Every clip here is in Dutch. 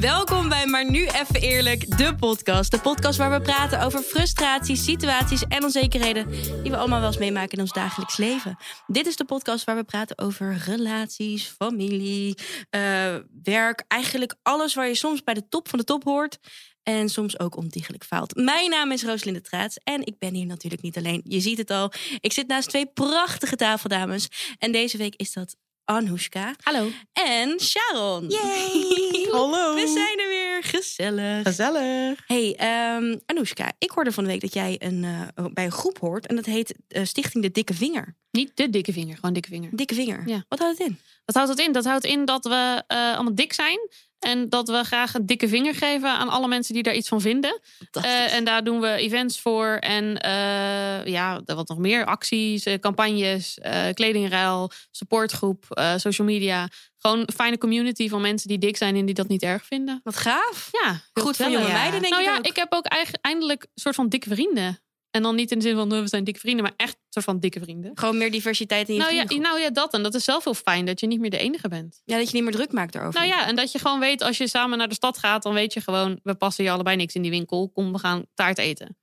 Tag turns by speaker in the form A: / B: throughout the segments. A: Welkom bij Maar Nu Even Eerlijk, de podcast. De podcast waar we praten over frustraties, situaties en onzekerheden... die we allemaal wel eens meemaken in ons dagelijks leven. Dit is de podcast waar we praten over relaties, familie, eh, werk... eigenlijk alles waar je soms bij de top van de top hoort... En soms ook ontiegelijk faalt. Mijn naam is Rooslinde Traats en ik ben hier natuurlijk niet alleen. Je ziet het al. Ik zit naast twee prachtige tafeldames. En deze week is dat Anoushka
B: Hallo.
A: en Sharon.
B: Yay! Hallo.
A: We zijn er weer. Gezellig.
B: Gezellig.
A: Hey, ehm Anoushka, ik hoorde van de week dat jij een, eh, bij een groep hoort. En dat heet eh, Stichting de Dikke Vinger.
B: Niet de dikke vinger, gewoon dikke vinger.
A: Dikke Vinger.
B: Ja.
A: Wat houdt het in?
B: Wat houdt dat in? Dat houdt in dat we eh, allemaal dik zijn. En dat we graag een dikke vinger geven aan alle mensen die daar iets van vinden. Eh, en daar doen we events voor. En eh, ja, wat nog meer. Acties, eh, campagnes, eh, kledingruil, supportgroep, eh, social media. Gewoon een fijne community van mensen die dik zijn en die dat niet erg vinden.
A: Wat gaaf.
B: Ja,
A: Goed
B: heel
A: voor
B: gezellig.
A: jonge
C: ja.
A: meiden, denk
B: nou
A: ik
B: ja,
A: ook.
B: ik heb ook eigenlijk eindelijk een soort van dikke vrienden. En dan niet in de zin van eh, we zijn dikke vrienden, maar echt een soort van dikke vrienden.
A: Gewoon meer diversiteit in je
B: Nou ja,
A: vriendengroep.
B: nou ja, dat en dat is zelf heel fijn dat je niet meer de enige bent.
A: Ja, dat je niet meer druk maakt daarover.
B: Nou ja, en dat je gewoon weet als je samen naar de stad gaat, dan weet je gewoon we passen je allebei niks in die winkel. Kom, we gaan taart eten.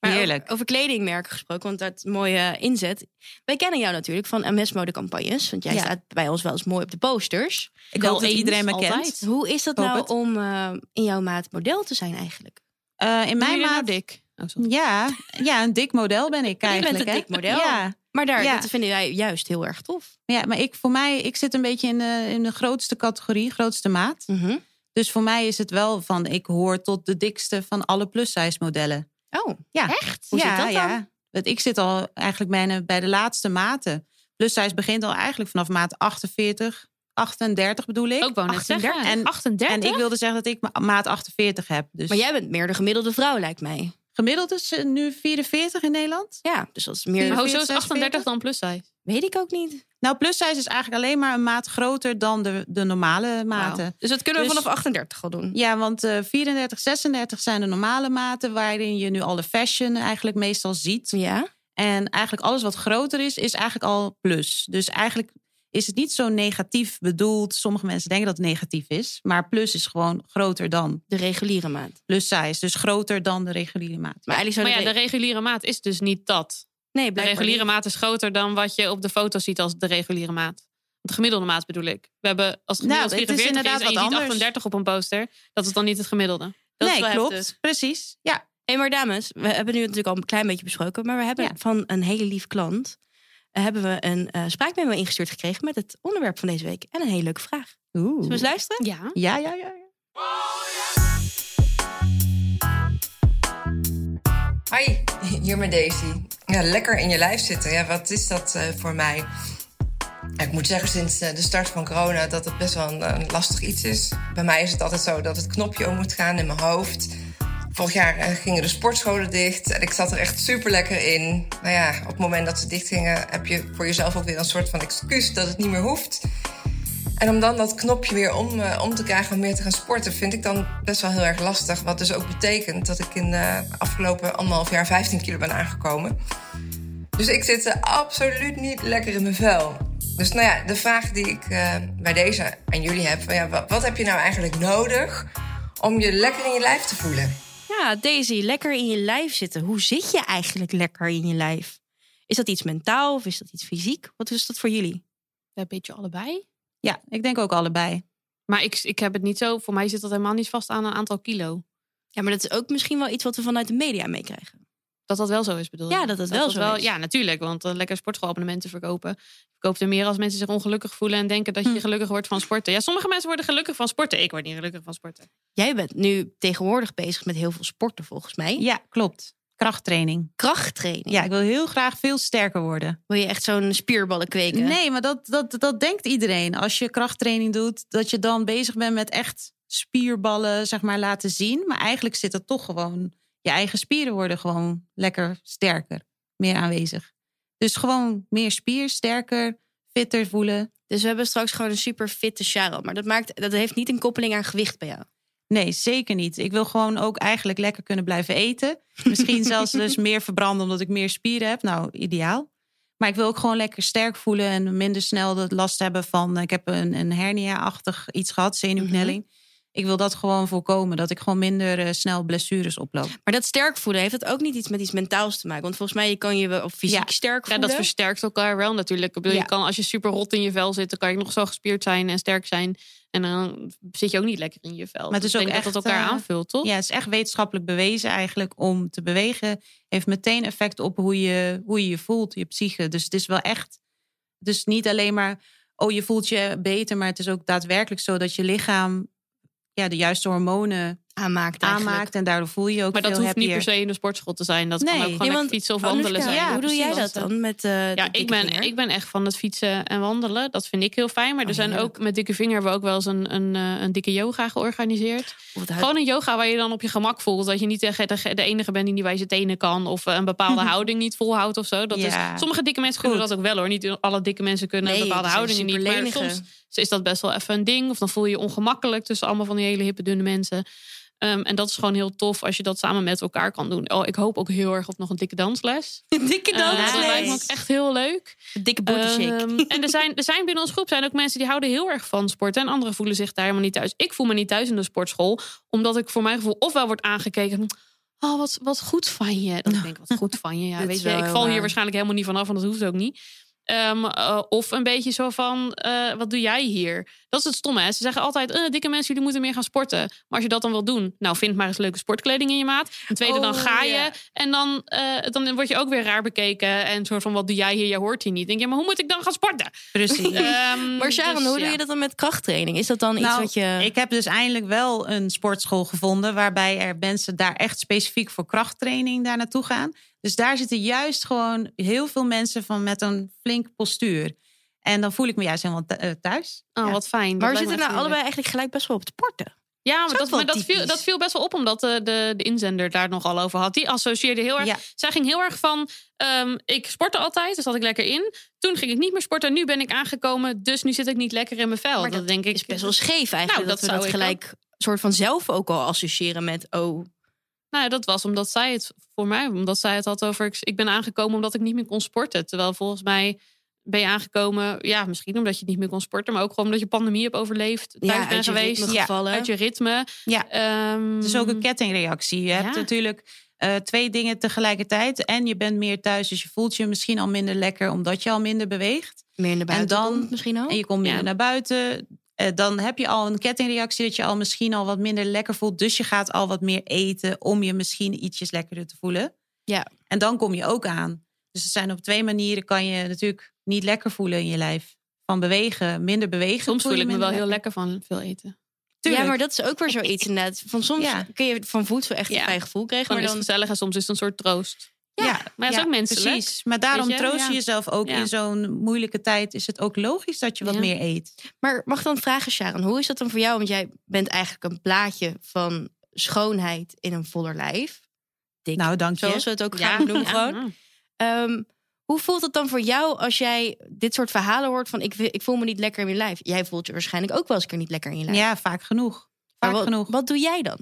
A: Maar ook
C: Heerlijk.
A: over kledingmerken gesproken, want dat mooie inzet. Wij kennen jou natuurlijk van MS Mode Campagnes. Want jij
C: Ja.
A: staat bij ons wel eens mooi op de posters.
C: Ik
B: Wel
C: hoop dat
B: eens,
C: iedereen me
B: altijd.
C: kent.
A: Hoe is dat
C: Hoop
A: nou
C: het.
A: om eh, in jouw maat model te zijn eigenlijk?
C: Eh, in
B: Doe
C: mijn
B: je nou
C: maat.
B: dik. Oh, sorry.
C: Ja, ja, een dik model ben ik
A: bent
C: eigenlijk.
A: een
C: hè.
A: dik model.
C: Ja,
A: Maar daar,
C: Ja.
A: dat vinden wij juist heel erg tof.
C: ja maar ik, voor mij, ik zit een beetje in de, in de grootste categorie, grootste maat.
A: Mhm.
C: Dus voor mij is het wel van, ik hoor tot de dikste van alle plus-size modellen.
A: Oh,
C: Ja.
A: echt? Hoe
C: ja,
A: zit dat dan?
C: ja. Want ik zit al eigenlijk bijna bij de laatste maten. Plus-size begint al eigenlijk vanaf maat 48, 38 bedoel ik.
B: Ook wonen
C: 38.
B: zeggen.
C: En,
B: 38.
C: en ik wilde zeggen dat ik ma- maat 48 heb. Dus
A: Maar jij bent meer de gemiddelde vrouw, lijkt mij.
C: gemiddeld is ze nu 44 in Nederland.
A: Ja, dus dat is meer...
B: maar
C: Maar
B: hoezo is
C: 46?
B: 38 dan plus size?
A: Weet ik ook niet.
C: Nou, plus size is eigenlijk alleen maar een maat groter dan de, de normale maten.
B: Wauw.
A: Dus dat kunnen we
C: Dus-
A: vanaf 38 al doen.
C: Ja, want eh 34, 36 zijn de normale maten waarin je nu alle fashion eigenlijk meestal ziet.
A: Ja?
C: En eigenlijk alles wat groter is, is eigenlijk al plus. Dus eigenlijk is het niet zo negatief bedoeld. Sommige mensen denken dat het negatief is, maar plus is gewoon groter dan
A: De reguliere maat.
C: plus size. Dus groter dan de reguliere maat.
A: Maar eigenlijk zou
B: Maar ja,
A: de
B: de
A: re-
B: reguliere maat is dus niet dat.
A: Nee,
B: De
A: blijkbaar
B: reguliere
A: niet.
B: maat is groter dan wat je op de foto ziet als de reguliere maat. De gemiddelde maat bedoel ik. We hebben als het
C: Nou,
B: gemiddeld
C: het
B: 44
C: is
B: is,
C: inderdaad
B: en je
C: wat
B: ziet
C: anders.
B: 38 op een poster. Dat is dan niet het gemiddelde.
A: Dat is
C: nee,
A: wel
C: klopt.
A: heftig.
C: Precies. Ja,
A: Hé, maar dames, we hebben nu natuurlijk al een klein beetje besproken. Maar we hebben
C: Ja.
A: van een hele lief klant... eh, hebben we een eh spraakmemo ingestuurd gekregen... met het onderwerp van deze week. En een hele leuke vraag. Zullen we eens luisteren?
B: Ja.
C: ja, ja, ja. ja.
D: Hi, hier met Daisy. Ja, lekker in je lijf zitten. Ja, wat is dat eh, voor mij? Ja, ik moet zeggen, sinds eh, de start van corona, dat het best wel een, een lastig iets is. Bij mij is het altijd zo dat het knopje om moet gaan in mijn hoofd. Vorig jaar eh, gingen de sportscholen dicht en ik zat er echt super lekker in. Nou ja, op het moment dat ze dicht gingen, heb je voor jezelf ook weer een soort van excuus dat het niet meer hoeft. En om dan dat knopje weer om, eh, om te krijgen om meer te gaan sporten, vind ik dan best wel heel erg lastig. Wat dus ook betekent dat ik in de afgelopen anderhalf jaar 15 kilo ben aangekomen. Dus ik zit eh, absoluut niet lekker in mijn vel. Dus nou ja, de vraag die ik eh, bij deze aan jullie heb: van, ja, wat, wat heb je nou eigenlijk nodig om je lekker in je lijf te voelen?
A: Ja, Daisy, lekker in je lijf zitten. Hoe zit je eigenlijk lekker in je lijf? Is dat iets mentaal of is dat iets fysiek? Wat is dat voor jullie?
B: Een beetje allebei.
C: Ja, ik denk ook allebei.
B: Maar ik, ik heb het niet zo. Voor mij zit dat helemaal niet vast aan een aantal kilo.
A: Ja, maar dat is ook misschien wel iets wat we vanuit de media meekrijgen.
B: Dat dat wel zo is, bedoel je?
A: Ja, dat dat wel zo is.
B: Ja, natuurlijk. Want eh, lekker sportschoolabonnementen verkopen. Verkoopt er meer als mensen zich ongelukkig voelen en denken dat je
A: Hm.
B: gelukkig wordt van sporten. Ja, sommige mensen worden gelukkig van sporten. Ik word niet gelukkig van sporten.
A: Jij bent nu tegenwoordig bezig met heel veel sporten volgens mij.
C: Ja, klopt. Krachttraining.
A: Krachttraining.
C: Ja, ik wil heel graag veel sterker worden.
A: Wil je echt zo'n spierballen kweken?
C: Nee, maar dat, dat, dat denkt iedereen. Als je krachttraining doet, dat je dan bezig bent met echt spierballen, zeg maar, laten zien. Maar eigenlijk zit er toch gewoon, je eigen spieren worden gewoon lekker sterker, meer aanwezig. Dus gewoon meer spier, sterker, fitter voelen.
A: Dus we hebben straks gewoon een super fitte Sharon. Maar dat, maakt, dat heeft niet een koppeling aan gewicht bij jou.
C: Nee, zeker niet. Ik wil gewoon ook eigenlijk lekker kunnen blijven eten. Misschien zelfs dus meer verbranden omdat ik meer spieren heb. Nou, ideaal. Maar ik wil ook gewoon lekker sterk voelen en minder snel dat last hebben van... eh, ik heb een, een hernia-achtig iets gehad, zenuwknelling. Ik wil dat gewoon voorkomen. Dat ik gewoon minder eh, snel blessures oploop.
A: Maar dat sterk voelen, heeft dat ook niet iets met iets mentaals te maken? Want volgens mij je kan je wel op fysiek
C: Ja.
A: sterk
B: Ja,
A: voelen.
B: dat versterkt elkaar wel natuurlijk. Ik bedoel,
A: Ja.
B: je kan, als je super rot in je vel zit, dan kan je nog zo gespierd zijn en sterk zijn. En dan zit je ook niet lekker in je vel.
C: het is
B: Dus
C: ook
B: ik denk dat het
C: echt,
B: elkaar
C: eh,
B: aanvult, toch?
C: Ja, het is echt wetenschappelijk bewezen eigenlijk om te bewegen. Heeft meteen effect op hoe je hoe je, je voelt, je psyche. Dus het is wel echt. Dus niet alleen maar, oh je voelt je beter. Maar het is ook daadwerkelijk zo dat je lichaam ja, de juiste hormonen
A: aanmaakt eigenlijk.
C: aanmaakt. En daardoor voel je je ook
B: Maar dat
C: veel
B: hoeft niet per
C: happier.
B: se in de sportschool te zijn. Dat
C: Nee.
B: kan ook gewoon
A: Nee,
B: lekker
A: want
B: fietsen of
A: Anoushka,
B: wandelen zijn.
C: ja,
A: hoe doe jij
C: precies.
A: dat dan met eh, de
B: Ja,
A: dikke
B: ik ben,
A: vinger?
B: ik ben echt van het fietsen en wandelen. Dat vind ik heel fijn. Maar
A: Oh,
B: er zijn
A: heerlijk.
B: ook met dikke vinger hebben we ook wel eens een, een, eh, een dikke yoga georganiseerd.
A: Of het huid-
B: Gewoon een yoga waar je dan op je gemak voelt. Dat je niet de, de, de enige bent die niet bij zijn tenen kan. Of eh, een bepaalde houding niet volhoudt of zo. Dat
C: Ja.
B: is, sommige dikke mensen kunnen
C: Goed.
B: dat ook wel hoor. Niet alle dikke mensen kunnen
A: Nee,
B: bepaalde
A: die zijn
B: houdingen niet. Maar
A: superlenige.
B: soms is dat best wel even een ding. Of dan voel je je ongemakkelijk tussen allemaal van die hele hippe dunne mensen. Ehm, en dat is gewoon heel tof als je dat samen met elkaar kan doen. Oh, ik hoop ook heel erg op nog een dikke dansles.
A: dikke
B: Eh, dat
A: dansles.
B: lijkt me ook echt heel leuk.
A: Dikke booty shake.
B: Ehm, en er zijn, er zijn binnen ons groep zijn ook mensen die houden heel erg van sporten. En anderen voelen zich daar helemaal niet thuis. Ik voel me niet thuis in de sportschool. Omdat ik voor mijn gevoel ofwel wordt aangekeken. Oh, wat, wat goed van je. Dan denk ik, wat goed van je. Ja,
A: Dit
B: weet
A: is
B: je,
A: wel
B: eh, ik
A: heel
B: val hier
A: waar.
B: waarschijnlijk helemaal niet vanaf. En dat hoeft ook niet. Ehm, eh, of een beetje zo van, eh, wat doe jij hier? Dat is het stomme. Hè? Ze zeggen altijd, eh, dikke mensen, jullie moeten meer gaan sporten. Maar als je dat dan wil doen, nou, vind maar eens leuke sportkleding in je maat. Een tweede, dan
A: Oh,
B: ga je.
A: ja.
B: En dan, eh, dan word je ook weer raar bekeken. En soort van, wat doe jij hier? Jij hoort hier niet. Denk je, maar hoe moet ik dan gaan sporten?
C: Precies.
B: Ehm,
A: Maar Sharon,
B: dus,
A: hoe
B: ja.
A: doe je dat dan met krachttraining? Is dat dan iets
C: Nou,
A: wat je...
C: Ik heb dus eindelijk wel een sportschool gevonden waarbij er mensen daar echt specifiek voor krachttraining daar naartoe gaan. Dus daar zitten juist gewoon heel veel mensen van met een flink postuur. En dan voel ik me juist helemaal th- eh, thuis.
B: Oh,
C: Ja.
B: wat fijn. Dat
A: maar we
B: lijkt me
A: zitten
B: echt
A: nou
B: heel
A: allebei eigenlijk gelijk best wel op het sporten.
B: leuk. Ja,
A: is ook
B: maar, dat,
A: wel
B: maar dat, viel,
A: typisch.
B: dat viel best wel op, omdat eh, de, de, inzender daar nogal over had. Die associeerde heel erg.
C: Ja.
B: Zij ging heel erg van. ehm, ik sportte altijd, dus zat ik lekker in. Toen ging ik niet meer sporten, nu ben ik aangekomen, dus nu zit ik niet lekker in mijn vel.
A: Maar
B: dat, denk ik
A: is best wel scheef eigenlijk.
B: Nou,
A: dat,
B: dat
A: we
B: zou
A: dat
B: ik
A: gelijk soort van zelf ook al associëren met... Oh,
B: Nou, ja, dat was omdat zij het voor mij, omdat zij het had over. Ik, ik ben aangekomen omdat ik niet meer kon sporten. Terwijl volgens mij ben je aangekomen, ja, misschien omdat je het niet meer kon sporten, maar ook gewoon omdat je pandemie hebt overleefd, thuis
A: ja,
B: bent
A: uit je
B: geweest,
A: ritme
C: Ja,
A: gevallen. Dus
B: uit je ritme.
C: Ja.
B: Ehm,
C: Het is ook
A: Mm.
C: een kettingreactie. Je hebt
B: Ja.
C: natuurlijk eh, twee dingen tegelijkertijd. En je bent meer thuis, dus je voelt je misschien al minder lekker omdat je al minder beweegt.
A: Meer naar buiten
C: dan-
A: komt misschien ook.
C: En je komt minder
B: Ja.
C: naar buiten. Eh, dan heb je al een kettingreactie dat je al misschien al wat minder lekker voelt. Dus je gaat al wat meer eten om je misschien ietsjes lekkerder te voelen.
A: Ja.
C: En dan kom je ook aan. Dus er zijn op twee manieren kan je natuurlijk niet lekker voelen in je lijf. Van bewegen, minder bewegen.
B: Soms
C: voel
B: voel
C: je
B: ik me wel
C: minder
B: heel lekker van veel eten.
C: Tuurlijk.
A: Ja, maar dat is ook weer zoiets inderdaad. Van soms
C: Ja.
A: kun je van voedsel echt een
B: Ja.
A: fijn gevoel krijgen.
B: Gewoon
A: Maar
B: is het
A: dan,
B: gezellig en soms is het een soort troost.
C: Ja,
B: Maar het is ook menselijk.
C: precies. Maar daarom
B: Weet je?
C: troost je
B: Ja.
C: jezelf ook
B: Ja.
C: in zo'n moeilijke tijd. Is het ook logisch dat je wat
B: Ja.
C: meer eet?
A: maar mag ik dan vragen, Sharon, hoe is dat dan voor jou? Want jij bent eigenlijk een plaatje van schoonheid in een voller lijf. Dik,
C: Nou, dank je.
A: zoals we het ook graag noemen gewoon.
C: Nou
A: Ehm, hoe voelt het dan voor jou als jij dit soort verhalen hoort van ik, wil- ik voel me niet lekker in mijn lijf? Jij voelt je waarschijnlijk ook wel eens een keer niet lekker in je lijf.
C: Ja, vaak genoeg.
A: Maar
C: Vaak
A: wat,
C: genoeg.
A: Wat doe jij dan?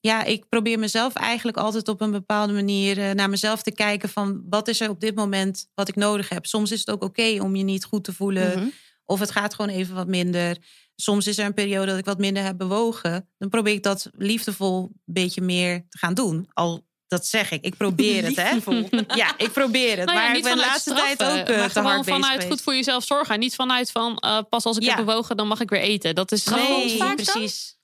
C: ja, ik probeer mezelf eigenlijk altijd op een bepaalde manier eh, naar mezelf te kijken van wat is er op dit moment wat ik nodig heb. Soms is het ook oké om je niet goed te voelen
A: Mhm.
C: of het gaat gewoon even wat minder. Soms is er een periode dat ik wat minder heb bewogen. Dan probeer ik dat liefdevol een beetje meer te gaan doen. Al dat zeg ik, ik probeer het hè. Ja, ik probeer het.
B: Nou ja,
C: maar ik
B: niet
C: ben de
B: vanuit
C: laatste
B: straffen,
C: tijd ook eh,
B: maar
C: te
B: gewoon
C: hard bezig
B: vanuit
C: geweest.
B: goed voor jezelf zorgen. En niet vanuit van eh, pas als ik
C: Ja.
B: heb bewogen, dan mag ik weer eten. Dat is
A: Straffonds
C: Nee,
A: vaak dan?
C: precies.
B: Nee,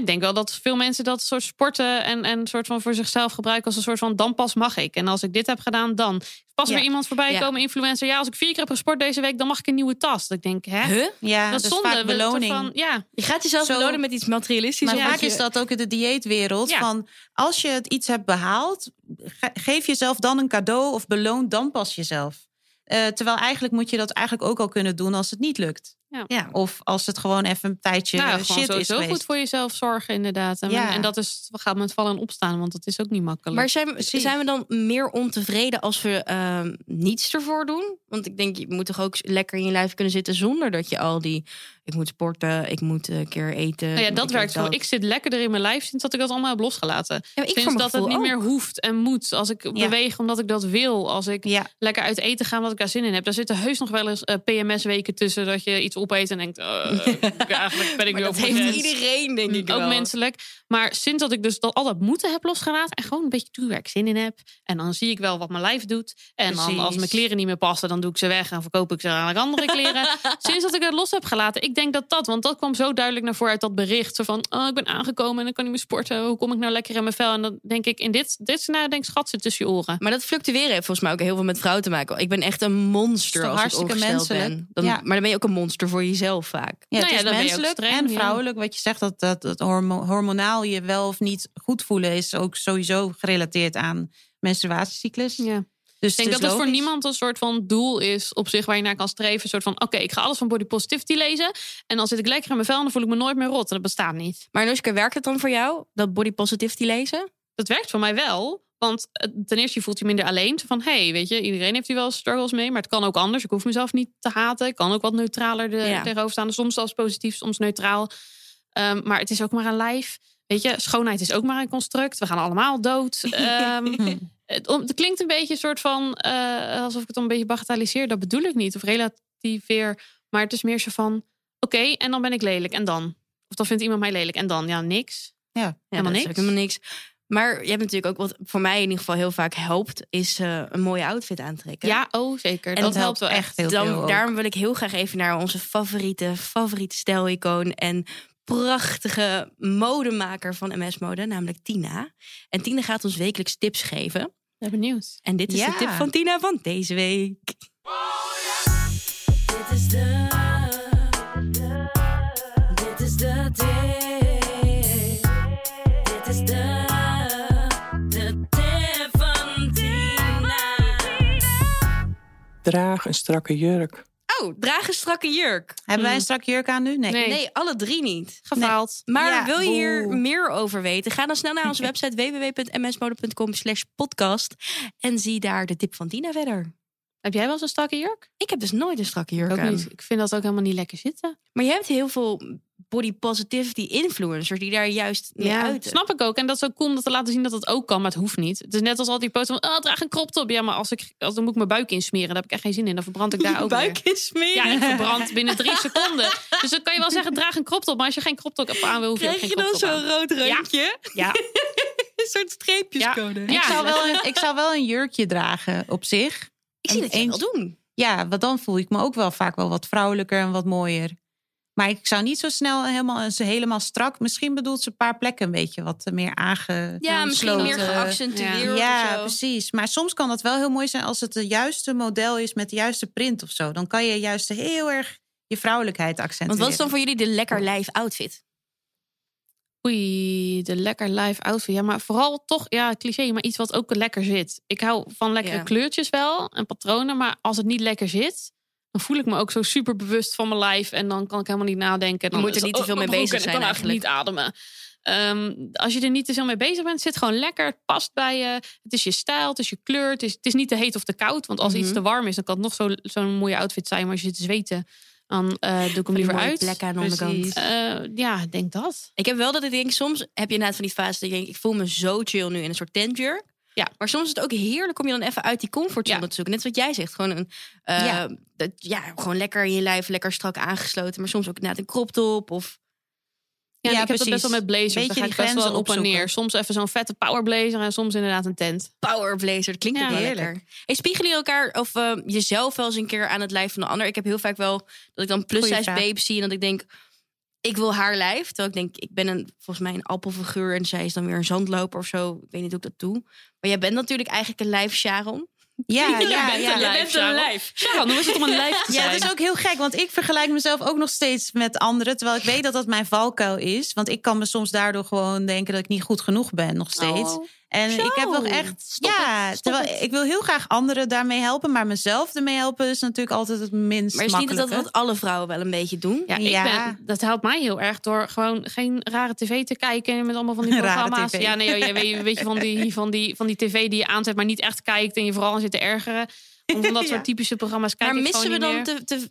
B: Nou, ik denk wel dat veel mensen dat soort sporten en, en soort van voor zichzelf gebruiken als een soort van dan pas mag ik. En als ik dit heb gedaan, dan. Pas
C: Ja.
B: weer iemand voorbij
A: Ja.
B: komen, influencer. Ja, als ik vier keer heb gesport deze week, dan mag ik een nieuwe tas. Dat ik denk, hè?
A: Huh?
C: Ja,
B: Dat is
C: dus
B: zonde.
C: vaak
B: We- soort
C: beloning.
B: van- ja,
A: Je gaat jezelf
C: Zo-
A: belonen met iets materialistisch.
C: Maar
A: omdat
C: vaak
A: je-
C: is dat ook in de dieetwereld.
B: Ja.
C: Van als je het iets hebt behaald, ge- geef jezelf dan een cadeau of beloon dan pas jezelf. Eh, terwijl eigenlijk moet je dat eigenlijk ook al kunnen doen als het niet lukt.
A: Ja.
C: Of als het gewoon even een tijdje
B: nou,
C: eh,
B: gewoon
C: shit is
B: sowieso
C: geweest.
B: goed voor jezelf zorgen, inderdaad. En,
C: Ja.
B: en dat is, we gaan met vallen en opstaan, want dat is ook niet makkelijk.
A: Maar zijn, we-
C: Precies.
A: zijn we dan meer ontevreden als we ehm, niets ervoor doen? Want ik denk, je moet toch ook lekker in je lijf kunnen zitten zonder dat je al die... Ik moet sporten, ik moet eh, een keer eten.
B: Nou ja,
A: ik
B: dat
A: moet
B: werkt wel. Ik zit lekkerder in mijn lijf sinds dat ik dat allemaal heb losgelaten.
A: Ja, maar ik voor
B: sinds
A: mijn
B: dat het niet
A: gevoel
B: meer hoeft en moet. Als ik beweeg omdat ik dat wil. Als ik
C: Ja,
B: lekker uit eten ga omdat ik daar zin in heb. Daar zitten heus nog wel eens eh, PMS-weken tussen. Dat je iets opeet en denkt... eh, ik- eigenlijk ben ik
A: Maar
B: nu
A: dat
B: over mijn
A: heeft
B: grens.
A: iedereen, denk ik
C: Mm,
B: Ook
A: wel.
B: menselijk. Maar sinds dat ik dus dat, al dat moeten heb losgelaten... en gewoon een beetje doe waar ik zin in heb... en dan zie ik wel wat mijn lijf doet... en dan
A: Precies.
B: als mijn kleren niet meer passen... dan doe ik ze weg en verkoop ik ze aan andere kleren. sinds dat ik dat los heb gelaten... ik denk dat dat... want dat kwam zo duidelijk naar voren uit dat bericht... zo van, oh, ik ben aangekomen en dan kan ik meer sporten... hoe kom ik nou lekker in mijn vel? En dan denk ik, in dit, dit scenario denk ik... schat zit tussen je oren.
A: Maar dat fluctueren heeft volgens mij ook heel veel met vrouwen te maken. Ik ben echt een monster
C: Is toch
A: als ik
C: hartstikke
A: ongesteld
C: menselijk?
A: ben. Dan,
C: Ja.
A: Maar dan ben je ook een monster voor jezelf vaak.
C: Ja,
B: Nou ja,
C: het
B: dan ben je
C: is
B: ook
C: menselijk
B: streng,
C: en
B: ja.
C: vrouwelijk. Wat je zegt, dat, dat, dat hormo- hormonaal je wel of niet goed voelen... is ook sowieso gerelateerd aan menstruatiecyclus.
B: Ja.
C: Dus
B: Ik denk dat
C: is
B: het voor
C: logisch.
B: niemand een soort van doel is op zich waar je naar kan streven. Een soort van: oké, ik ga alles van body positivity lezen. En dan zit ik lekker in mijn vel en dan voel ik me nooit meer rot. Dat bestaat niet.
A: Maar Noeske, werkt het dan voor jou, dat body positivity lezen?
B: Dat werkt voor mij wel. Want eh, ten eerste, je voelt je minder alleen. Zo Van hé, hey, weet je, iedereen heeft hier wel struggles mee. Maar het kan ook anders. Ik hoef mezelf niet te haten. Ik kan ook wat neutraler de,
A: Ja.
B: tegenover staan. Soms als positief, soms neutraal. Ehm, maar het is ook maar een lijf. Weet je, schoonheid is ook maar een construct. We gaan allemaal dood. Ehm, Het, om- het klinkt een beetje een soort van eh, alsof ik het een beetje bagatelliseer. Dat bedoel ik niet. Of relativeer. Maar het is meer zo van: oké, en dan ben ik lelijk. En dan? Of dan vindt iemand mij lelijk. En dan? Ja, niks.
C: Ja.
A: Ja,
B: Helemaal
A: dat is
B: niks.
A: ook helemaal niks. Maar je hebt natuurlijk ook wat voor mij in ieder geval heel vaak helpt, is eh, een mooie outfit aantrekken.
B: Ja, oh zeker.
A: En
B: dat helpt wel echt.
C: heel
A: Dan-
C: veel. ook.
A: daarom wil ik heel graag even naar onze favoriete, favoriete stijlicoon en prachtige modemaker van MS Mode, namelijk Tina. En Tina gaat ons wekelijks tips geven.
B: Ik ben benieuwd.
A: En dit is de
C: Ja.
A: tip van Tina van deze week.
E: Dit is de. Dit is de tip. Dit is de. De tip van Tina.
F: Draag een strakke jurk.
A: Oh, draag een strakke jurk.
C: Hebben wij een strak jurk aan nu? Nee.
B: Mm. Nee.
A: Nee, alle drie niet.
B: Gefaald.
A: Maar
C: Ja,
A: wil je hier
C: oeh.
A: meer over weten? Ga dan snel naar onze website www.msmode.com slash podcast. En zie daar de tip van Tina verder.
B: Heb jij wel zo'n strakke jurk?
A: Ik heb dus nooit een strakke
B: Ik
A: jurk
B: ook
A: aan.
B: niet. Ik vind dat ook helemaal niet lekker zitten.
A: Maar je hebt heel veel body positivity influencers die daar juist mee uiten.
B: snap ik ook. En dat is ook cool om dat te laten zien dat dat ook kan, maar het hoeft niet. Het is net als al die posten van, oh, draag een crop top. Ja, maar als ik, als, dan moet ik mijn buik insmeren. Daar heb ik echt geen zin in. Dan verbrand ik daar ook weer.
A: is meer.
B: Ja, ik verbrand binnen drie seconden. Dus dan kan je wel zeggen, draag een crop top. Maar als je geen crop top aan wil, hoef je ook
A: Krijg
B: geen
A: je dan
B: crop top aan.
A: zo'n rood randje?
B: Ja.
A: een soort streepjescode.
B: Ja.
A: Ik
C: Ik,
B: Ja.
C: zou wel een, ik zou wel een jurkje dragen op zich.
A: ik zie
C: En
A: dat je
C: eens-
A: dat wel doen.
C: Ja, want dan voel ik me ook wel vaak wel wat vrouwelijker en wat mooier. Maar ik zou niet zo snel helemaal, ze helemaal strak. Misschien bedoelt ze een paar plekken een beetje wat meer aange.
A: Ja, misschien
C: sloten.
A: meer geaccentueerd
C: Ja,
A: of zo.
C: precies. Maar soms kan dat wel heel mooi zijn als het het juiste model is met de juiste print of zo. Dan kan je juist heel erg je vrouwelijkheid
A: Want
C: accentueren.
A: wat is dan voor jullie de lekker lijf outfit?
B: Oei, de lekker live outfit. Ja, maar vooral toch, ja, cliché, maar iets wat ook lekker zit. Ik hou van lekkere
A: Ja.
B: kleurtjes wel en patronen. Maar als het niet lekker zit, dan voel ik me ook zo super bewust van mijn lijf. En dan kan ik helemaal niet nadenken. Dan
A: moet er
B: is het,
A: niet te
B: oh,
A: veel
B: mijn
A: mee
B: broek
A: bezig
B: en ik
A: zijn
B: kan eigenlijk niet ademen. Ehm, als je er niet te veel mee bezig bent, zit gewoon lekker. Het past bij je. Het is je stijl, het is je kleur. Het is, het is niet te heet of te koud. Want als iets
A: Mhm.
B: te warm is, dan kan het nog zo- zo'n mooie outfit zijn. Maar als je zit te zweten, dan eh, doe ik hem
A: Die
B: liever
A: mooie
B: uit.
A: plekken aan de onderkant.
C: Precies.
B: Eh, ja, ik denk dat.
A: Ik heb wel dat ik denk, soms heb je inderdaad van die fase dat je denkt, ik voel me zo chill nu in een soort tentjurk.
B: Ja.
A: Maar soms is het ook heerlijk om je dan even uit die comfortzone
B: Ja.
A: te zoeken. Net wat jij zegt, gewoon een, eh,
C: Ja.
A: Dat, ja, gewoon lekker in je lijf, lekker strak aangesloten. Maar soms ook inderdaad een crop top of...
B: Ja,
C: Ja,
B: ik heb dat
C: precies.
B: best wel met blazers.
C: Beetje
B: Daar ga
C: die
B: ik best wel
C: grenzen
B: op en neer.
C: opzoeken.
B: Soms even zo'n vette powerblazer en soms inderdaad een tent.
A: power blazer. Dat klinkt
B: Ja,
A: ook wel
C: heerlijk.
A: lekker. Hey, spiegelen jullie elkaar of eh, jezelf wel eens een keer aan het lijf van de ander? Ik heb heel vaak wel dat ik dan plus
C: Goeie
A: size
C: vraag.
A: babe zie en dat ik denk, ik wil haar lijf. Terwijl ik denk, ik ben een, volgens mij een appelfiguur en zij is dan weer een zandloper of zo. Ik weet niet hoe ik dat doe. Maar jij bent natuurlijk eigenlijk een lijf, Sharon.
C: Ja,
B: Je
C: ja,
B: bent
C: ja.
B: een lijf, Sharon. Sharon, hoe is het om een lijf te
C: Ja,
B: zijn?
A: dus-
C: het is ook heel gek, want ik vergelijk mezelf ook nog steeds met anderen. Terwijl ik weet dat dat mijn valkuil is. Want ik kan me soms daardoor gewoon denken dat ik niet goed genoeg ben, nog steeds. en
A: Oh. zo.
C: ik heb nog echt.
A: Stop
C: ja,
A: het, stop
C: terwijl
A: het.
C: ik wil heel graag anderen daarmee helpen. Maar mezelf ermee helpen is natuurlijk altijd het minst.
A: Maar is niet dat
C: makkelijke.
A: dat wat alle vrouwen wel een beetje doen?
B: Ja, ik
C: Ja.
B: Ben, dat helpt mij heel erg door gewoon geen rare tv te kijken met allemaal van die
C: Rare
B: programma's.
C: TV.
B: Ja, nee, joh, je weet, weet je van die, van, die, van die tv die je aanzet, maar niet echt kijkt en je vooral aan zit te ergeren. Om van dat
C: Ja.
B: soort typische programma's kijken.
A: Maar missen we dan te, te-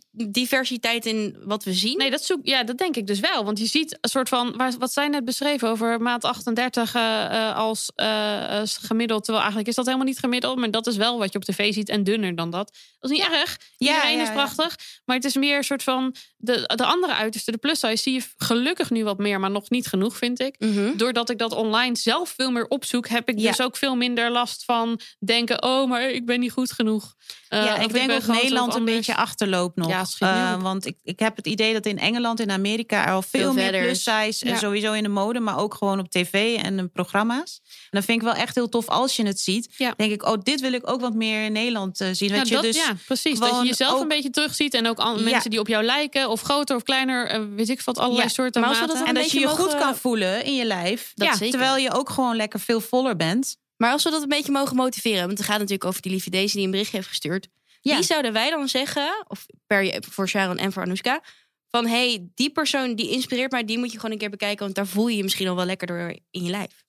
A: diversiteit in wat we zien?
B: Nee, dat, zoek, ja, dat denk ik dus wel. Want je ziet een soort van, waar- wat zij net beschreven over maand 38 eh, eh, als eh, als gemiddeld. Terwijl eigenlijk is dat helemaal niet gemiddeld. Maar dat is wel wat je op tv ziet en dunner dan dat. Dat is niet erg.
C: Ja,
B: Iedereen
C: ja,
B: is
C: ja.
B: prachtig. Maar het is meer een soort van, de, de andere uiterste, de plus size, zie je gelukkig nu wat meer. Maar nog niet genoeg, vind ik.
A: Mhm.
B: Doordat ik dat online zelf veel meer opzoek, heb ik
C: Ja.
B: dus ook veel minder last van denken: oh, maar ik ben niet goed genoeg. Eh,
C: ja,
B: of
C: ik denk
B: ben
C: dat
B: gewoon zo
C: Nederland een
B: anders.
C: beetje achterloopt nog.
B: Ja, schiet niet
C: Eh,
B: op.
C: want ik, ik heb het idee dat in Engeland, in Amerika er al veel,
A: Veel
C: meer
A: verder
C: plus
A: is.
C: size
B: Ja.
C: en sowieso in de mode, maar ook gewoon op tv en in programma's. En dat vind ik wel echt heel tof als je het ziet.
B: Ja.
C: Denk ik, oh, dit wil ik ook wat meer in Nederland eh, zien.
B: Ja,
C: Weet
B: dat,
C: je, dus
B: ja, precies. Dat je
C: gewoon
B: jezelf een
C: ook-
B: beetje terugziet. En ook an-
C: Ja.
B: mensen die op jou lijken. Of groter of kleiner. eh, weet ik wat. Allerlei
A: Ja,
B: soorten
A: maar als we
B: maten.
A: dat
C: en
A: een
C: dat je je
A: beetje
C: goed
A: mogen-
C: kan voelen in je lijf.
A: Dat
B: ja,
A: zeker.
C: Terwijl je ook gewoon lekker veel voller bent.
A: Maar als we dat een beetje mogen motiveren, want het gaat natuurlijk over die lieve Daisy die een bericht heeft gestuurd.
C: Ja.
A: Wie zouden wij dan zeggen, of per, je- voor Sharon en voor Anoushka, van hey, die persoon die inspireert mij, die moet je gewoon een keer bekijken, want daar voel je je misschien al wel lekker door in je lijf.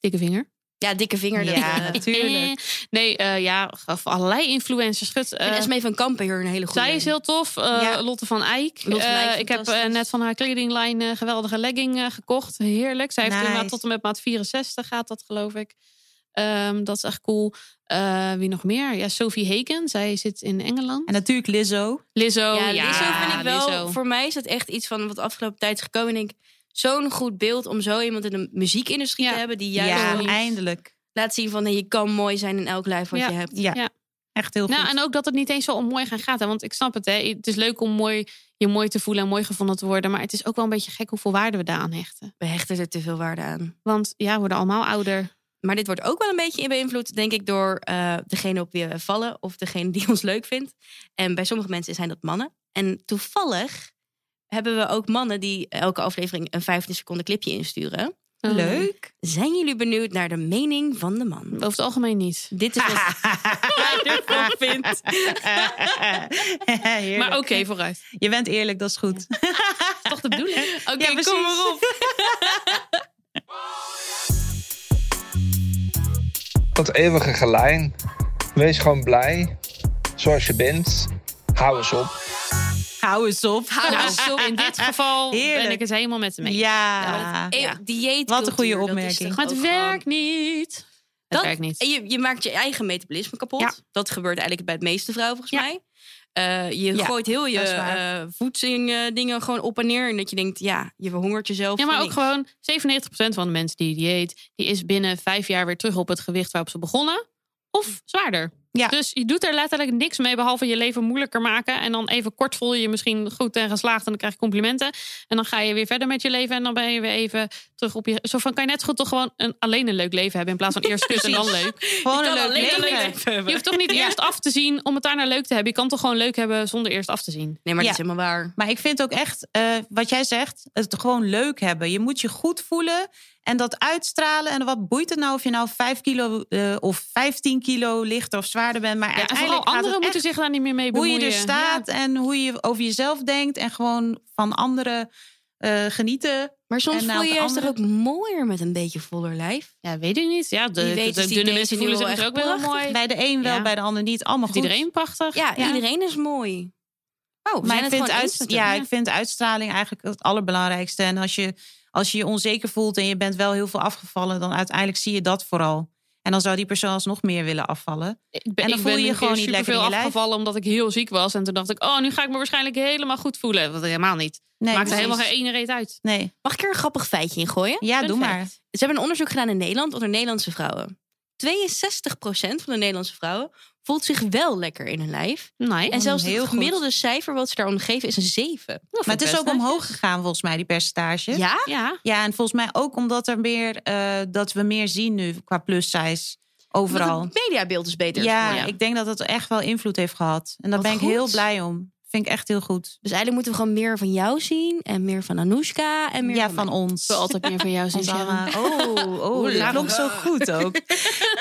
B: dikke vinger.
A: Ja, dikke vinger. dat,
C: Ja,
A: eh,
C: natuurlijk.
B: Eh, nee, eh, ja, of allerlei influencers. Gut, eh,
A: en Esmee van Kampen hier een hele goede.
B: zij is heel tof. eh,
C: Ja.
B: Lotte van Eijk.
A: Lotte van Eijk,
B: Eh, ik heb eh,
A: fantastisch.
B: net van haar kledinglijn eh, geweldige legging eh, gekocht. Heerlijk. Zij heeft
C: Nice.
B: inderdaad tot en met maat 64 gaat dat, geloof ik. Ehm, dat is echt cool. Eh, wie nog meer? Ja, Sophie Haken. Zij zit in Engeland.
C: En natuurlijk Lizzo.
B: Lizzo.
A: ja, Lizzo vind ik wel.
B: Oh, Lizzo.
A: Voor mij is dat echt iets van wat de afgelopen tijd is gekomen. En ik denk, zo'n goed beeld om zo iemand in de muziekindustrie
B: Ja.
A: te hebben die
C: Ja,
A: juist gewoon
C: eindelijk.
A: laat zien van hey, je kan mooi zijn in elk lijf wat je hebt.
C: Ja,
B: Ja.
C: echt heel goed.
B: Nou, en ook dat het niet eens zo om mooi gaan gaat. Hè? Want ik snap het, hè? het is leuk om mooi, je mooi te voelen en mooi gevonden te worden. Maar het is ook wel een beetje gek hoeveel waarde we daaraan hechten.
A: We hechten er te veel waarde aan.
B: Want ja, we worden allemaal ouder.
A: Maar dit wordt ook wel een beetje beïnvloed, denk ik, door eh, degene op wie we vallen of degene die ons leuk vindt. En bij sommige mensen zijn dat mannen. En toevallig hebben we ook mannen die elke aflevering een 15 seconden clipje insturen.
C: Leuk.
A: Zijn jullie benieuwd naar de mening van de man?
B: Ehm, Over het algemeen niet.
A: Dit is wat jij ervan vindt.
C: Heerlijk.
B: Maar oké, vooruit.
C: Je bent eerlijk, dat is goed.
B: Toch de bedoeling? Oké,
A: Oké,
C: precies.
A: kom maar op.
G: Dat eeuwige gelijn. Wees gewoon blij. Zoals je bent. Hou eens op.
C: Hou eens op.
B: Nou, in dit geval ben
C: Heerlijk.
B: ik het helemaal met hem eens.
C: Ja.
A: Eeuw, e- dieetcultuur,
C: Wat een goede
A: dat is
C: opmerking.
A: toch
B: Maar het
A: ook gewoon-
B: werkt niet. Het
A: Dat-
B: werkt niet.
A: En je, je maakt je eigen metabolisme kapot.
B: Ja.
A: Dat gebeurt eigenlijk bij het meeste vrouwen volgens
B: Ja.
A: mij. Eh, je
C: Ja,
A: gooit heel je
C: dat is waar.
A: eh voedsing eh, dingen gewoon op en neer. En dat je denkt, ja, je verhongert jezelf.
B: Ja, maar
A: voor
B: ook
A: niks.
B: gewoon 97% van de mensen die dieet, die is binnen vijf jaar weer terug op het gewicht waarop ze begonnen. Of zwaarder.
C: Ja.
B: Dus je doet er letterlijk niks mee, behalve je leven moeilijker maken. En dan even kort voel je je misschien goed en geslaagd en dan krijg je complimenten. En dan ga je weer verder met je leven en dan ben je weer even terug op je... Zo van, kan je net zo goed toch gewoon een, alleen een leuk leven hebben in plaats van eerst kus en dan leuk.
C: Gewoon een
A: kan
C: leuk
A: alleen
C: leven.
A: een leuk
B: Je hoeft toch niet eerst af te zien om het daarna leuk te hebben. Je kan toch gewoon leuk hebben zonder eerst af te zien.
A: Nee, maar
C: Ja.
A: dat is helemaal waar.
C: Maar ik vind ook echt, eh, wat jij zegt, het gewoon leuk hebben. Je moet je goed voelen en dat uitstralen. En wat boeit het nou of je nou 5 kilo eh, of 15 kilo lichter of zwaarder bent. Maar
B: Ja, en
C: uiteindelijk
B: vooral
C: gaat het
B: anderen moeten
C: echt
B: zich daar niet meer mee
C: hoe
B: bemoeien.
C: je er
B: Ja.
C: staat en hoe je over jezelf denkt. En gewoon van anderen eh, genieten.
A: Maar soms
C: En nou,
A: voel je
C: de
A: je juist toch ook
C: andere-
A: mooier met een beetje voller lijf.
B: Ja, weet ik niet. Ja, de,
A: Wie weet
B: de-
A: is
B: de
A: die
B: dunne
A: Daisy
B: mensen
A: nu
B: voelen zich
A: wel
B: ook
A: echt
B: wel
A: prachtig.
B: mooi.
C: Bij de een wel,
B: Ja.
C: bij de ander niet. Allemaal
B: Vindt
C: goed.
B: iedereen prachtig.
A: Ja,
C: Ja.
A: iedereen is mooi. Oh,
C: Maar
A: zijn
C: ik
A: het
C: vind,
A: gewoon
C: uit,
A: eens?
C: ja, ik vind uitstraling eigenlijk het allerbelangrijkste. En als je, als je je onzeker voelt en je bent wel heel veel afgevallen, dan uiteindelijk zie je dat vooral. En dan zou die persoon alsnog meer willen afvallen.
B: Ik ben,
C: En dan
B: ik
C: voel
B: ben
C: je je
B: een keer
C: gewoon niet lekker in
B: superveel
C: je lijf.
B: afgevallen omdat ik heel ziek was. En toen dacht ik, oh, nu ga ik me waarschijnlijk helemaal goed voelen. Wat helemaal niet.
C: Nee,
B: Maakt er
C: precies.
B: helemaal geen ene reet uit.
C: Nee,
A: Mag ik er een grappig feitje in gooien?
C: ja,
A: Fun
C: doe
A: fact.
C: maar.
A: Ze hebben een onderzoek gedaan in Nederland onder Nederlandse vrouwen. 62% van de Nederlandse vrouwen voelt zich wel lekker in hun lijf.
B: Nee.
A: En
C: Oh,
A: zelfs het
C: heel goed.
A: gemiddelde cijfer wat ze daarom geven is een 7.
B: Nou,
C: Maar het is ook omhoog gegaan volgens mij, die percentage.
A: Ja?
B: Ja.
C: Ja, en volgens mij ook omdat er meer, eh, dat we meer zien nu qua plus size
A: Vooral.
C: overal.
A: Het mediabeeld is beter.
C: Ja,
A: geworden.
C: ik denk dat het echt wel invloed heeft gehad. En daar
A: Wat
C: ben ik
A: goed.
C: heel blij om. Vind ik echt heel goed.
A: Dus eigenlijk moeten we gewoon meer van jou zien. En meer van Anoushka. En meer
C: Ja,
A: van
C: van
A: mij.
C: ons.
B: wil altijd meer van jou zien.
C: Ons
B: Sharon.
C: allemaal. Oh, oh
B: Oeh,
C: dat
B: la.
C: klonk zo goed ook.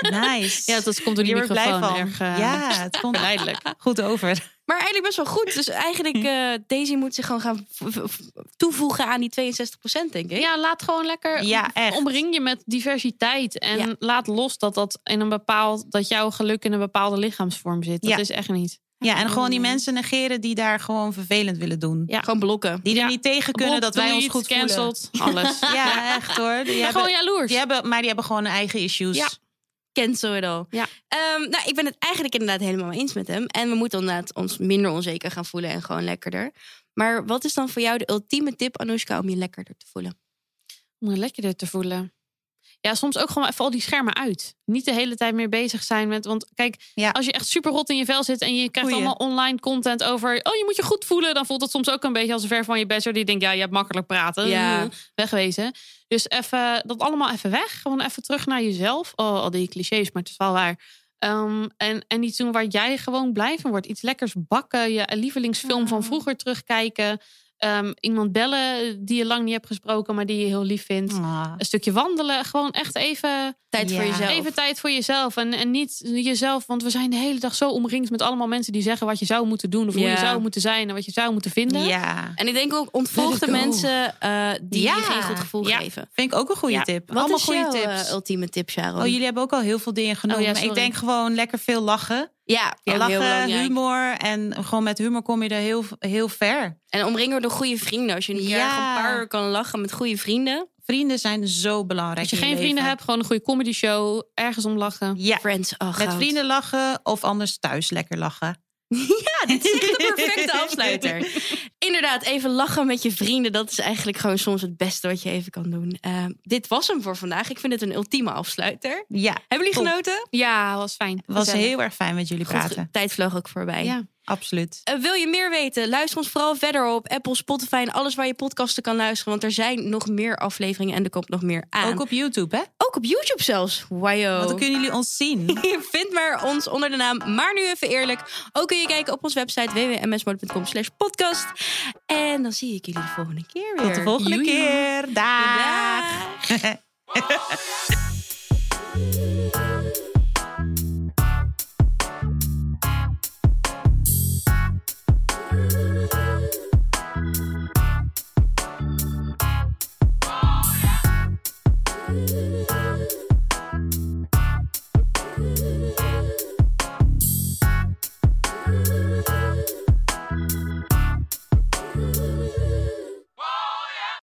C: Nice.
B: Ja, dat komt door die
C: Hier word ik
B: microfoon
C: blij van.
B: erg eh,
C: Ja, het komt
B: verleidelijk.
C: goed over.
A: Maar eigenlijk best wel goed. Dus eigenlijk, eh, Daisy moet zich gewoon gaan v- v- v- toevoegen aan die 62%, denk ik.
B: Ja, laat gewoon lekker.
C: Ja, echt.
B: Omring je met diversiteit. En
A: Ja.
B: laat los dat, dat, in een bepaald, dat jouw geluk in een bepaalde lichaamsvorm zit. Dat
C: Ja.
B: is echt niet.
C: Ja, en gewoon die mensen negeren die daar gewoon vervelend willen doen.
B: Mm. Ja.
A: Gewoon blokken.
C: Die er
B: Ja.
C: niet tegen kunnen
B: Blok,
C: dat wij
B: doe
C: ons
B: iets,
C: goed voelen.
B: cancelled, alles. Ja,
C: Ja, echt hoor. Die
B: gewoon
C: hebben,
B: jaloers.
C: die hebben, maar die hebben gewoon hun eigen issues.
B: Ja.
A: Cancel it all.
B: Ja.
A: Ehm, nou, ik ben het eigenlijk inderdaad helemaal eens met hem. En we moeten inderdaad ons minder onzeker gaan voelen en gewoon lekkerder. Maar wat is dan voor jou de ultieme tip, Anoushka, om je lekkerder te voelen?
B: Om je lekkerder te voelen. Ja, soms ook gewoon even al die schermen uit. Niet de hele tijd meer bezig zijn met. Want kijk,
C: Ja.
B: als je echt super rot in je vel zit en je krijgt
C: Goeie.
B: allemaal online content over. Oh, je moet je goed voelen. Dan voelt het soms ook een beetje als een ver van je bachelor die denkt, ja, je hebt makkelijk praten.
A: Ja.
B: Wegwezen. Dus even dat allemaal even weg. Gewoon even terug naar jezelf. Oh, al die clichés, maar het is wel waar. Ehm, en, en iets doen waar jij gewoon blij van wordt. Iets lekkers bakken. Je lievelingsfilm van vroeger terugkijken. Ehm, iemand bellen die je lang niet hebt gesproken, maar die je heel lief vindt.
C: Ah.
B: Een stukje wandelen. Gewoon echt even,
A: Tijd voor
C: Ja.
A: jezelf.
B: even tijd voor jezelf. En, en niet jezelf, want we zijn de hele dag zo omringd met allemaal mensen die zeggen wat je zou moeten doen. Of hoe
A: Ja.
B: je zou moeten zijn en wat je zou moeten vinden.
C: Ja,
A: En ik denk ook ontvolgde
C: Let it go.
A: mensen eh, die
C: Ja.
A: je geen goed gevoel
B: Ja.
A: geven.
C: vind ik ook een goede
B: Ja.
C: tip.
A: Wat
C: Allemaal
A: is
C: goede
A: jouw eh,
C: tips.
A: ultieme tip, Sharon?
C: Oh, jullie hebben ook al heel veel dingen genoemd.
B: Oh ja,
C: maar ik
B: sorry.
C: denk gewoon lekker veel lachen.
A: Ja, ook heel
C: lachen,
A: belangrijk.
C: humor. En gewoon met humor kom je er heel, heel ver.
A: En omringen door goede vrienden. Als je een keer
C: Ja.
A: een paar uur kan lachen met goede vrienden.
C: Vrienden zijn zo belangrijk.
B: Als je
C: in
B: geen
C: leven.
B: vrienden hebt, gewoon een goede comedy show. Ergens om lachen.
C: Ja,
A: Friends, oh,
C: met
A: goud.
C: vrienden lachen of anders thuis lekker lachen.
A: Ja, dit is echt de perfecte afsluiter. Inderdaad, even lachen met je vrienden. Dat is eigenlijk gewoon soms het beste wat je even kan doen. Eh, dit was hem voor vandaag. Ik vind het een ultieme afsluiter.
C: Ja,
A: Hebben jullie
C: Top.
A: genoten?
B: Ja, was fijn.
C: was
A: Gezellig.
C: heel erg fijn met jullie praten.
A: Goed, tijd vloog ook voorbij.
B: Ja.
C: Absoluut.
A: Eh, wil je meer weten? Luister ons vooral verder op Apple, Spotify en alles waar je podcasten kan luisteren. Want er zijn nog meer afleveringen en er komt nog meer aan.
C: Ook op YouTube, hè?
A: Ook op YouTube zelfs. Wow.
C: Want dan kunnen jullie ons zien.
A: Je vindt maar ons onder de naam Maar Nu Even Eerlijk. Ook kun je kijken op onze website www.msmode.com slash podcast. En dan zie ik jullie de volgende keer weer.
C: Tot de volgende
A: Joejoe.
C: keer. Daag.
A: Daag.